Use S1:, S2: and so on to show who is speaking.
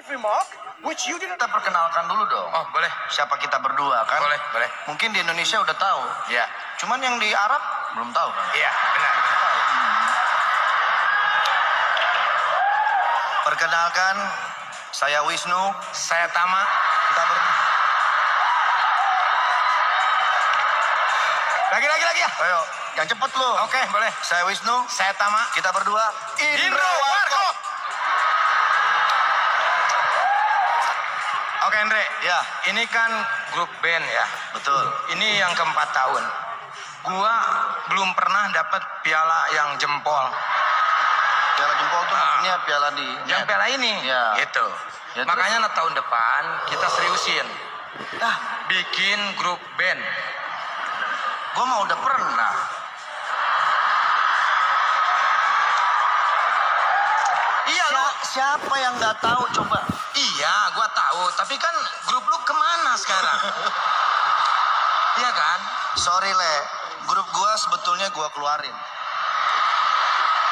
S1: Denmark, which you didn't.
S2: Kita perkenalkan dulu dong.
S3: Oh, boleh.
S2: Siapa kita berdua kan?
S3: Boleh, boleh.
S2: Mungkin di Indonesia udah tahu.
S3: Ya.
S2: Cuman yang di Arab belum tahu kan?
S3: Iya, benar.
S2: Perkenalkan, saya Wisnu.
S3: Saya Tama.
S2: Kita ber...
S3: Lagi, lagi, lagi ya.
S2: Ayo, yang cepet lo.
S3: Oke, boleh.
S2: Saya Wisnu.
S3: Saya Tama.
S2: Kita berdua.
S3: Indro Warko. Oke, Andre.
S2: Ya.
S3: Ini kan grup band ya.
S2: Betul.
S3: Ini yang keempat tahun. Gua belum pernah dapat piala yang jempol.
S2: Piala jempol tuh maksudnya piala di.
S3: Ah. Yang piala ini.
S2: Ya.
S3: Gitu.
S2: Ya, terus?
S3: Makanya nah, tahun depan kita seriusin.
S2: Nah,
S3: Bikin grup band.
S2: gue mau udah pernah.
S3: Iya, lu.
S2: Sia- siapa yang nggak tahu coba?
S3: Iya, gua tahu. Tapi kan grup lu kemana sekarang? kan? iya kan?
S2: Sorry le, grup gua sebetulnya gua keluarin.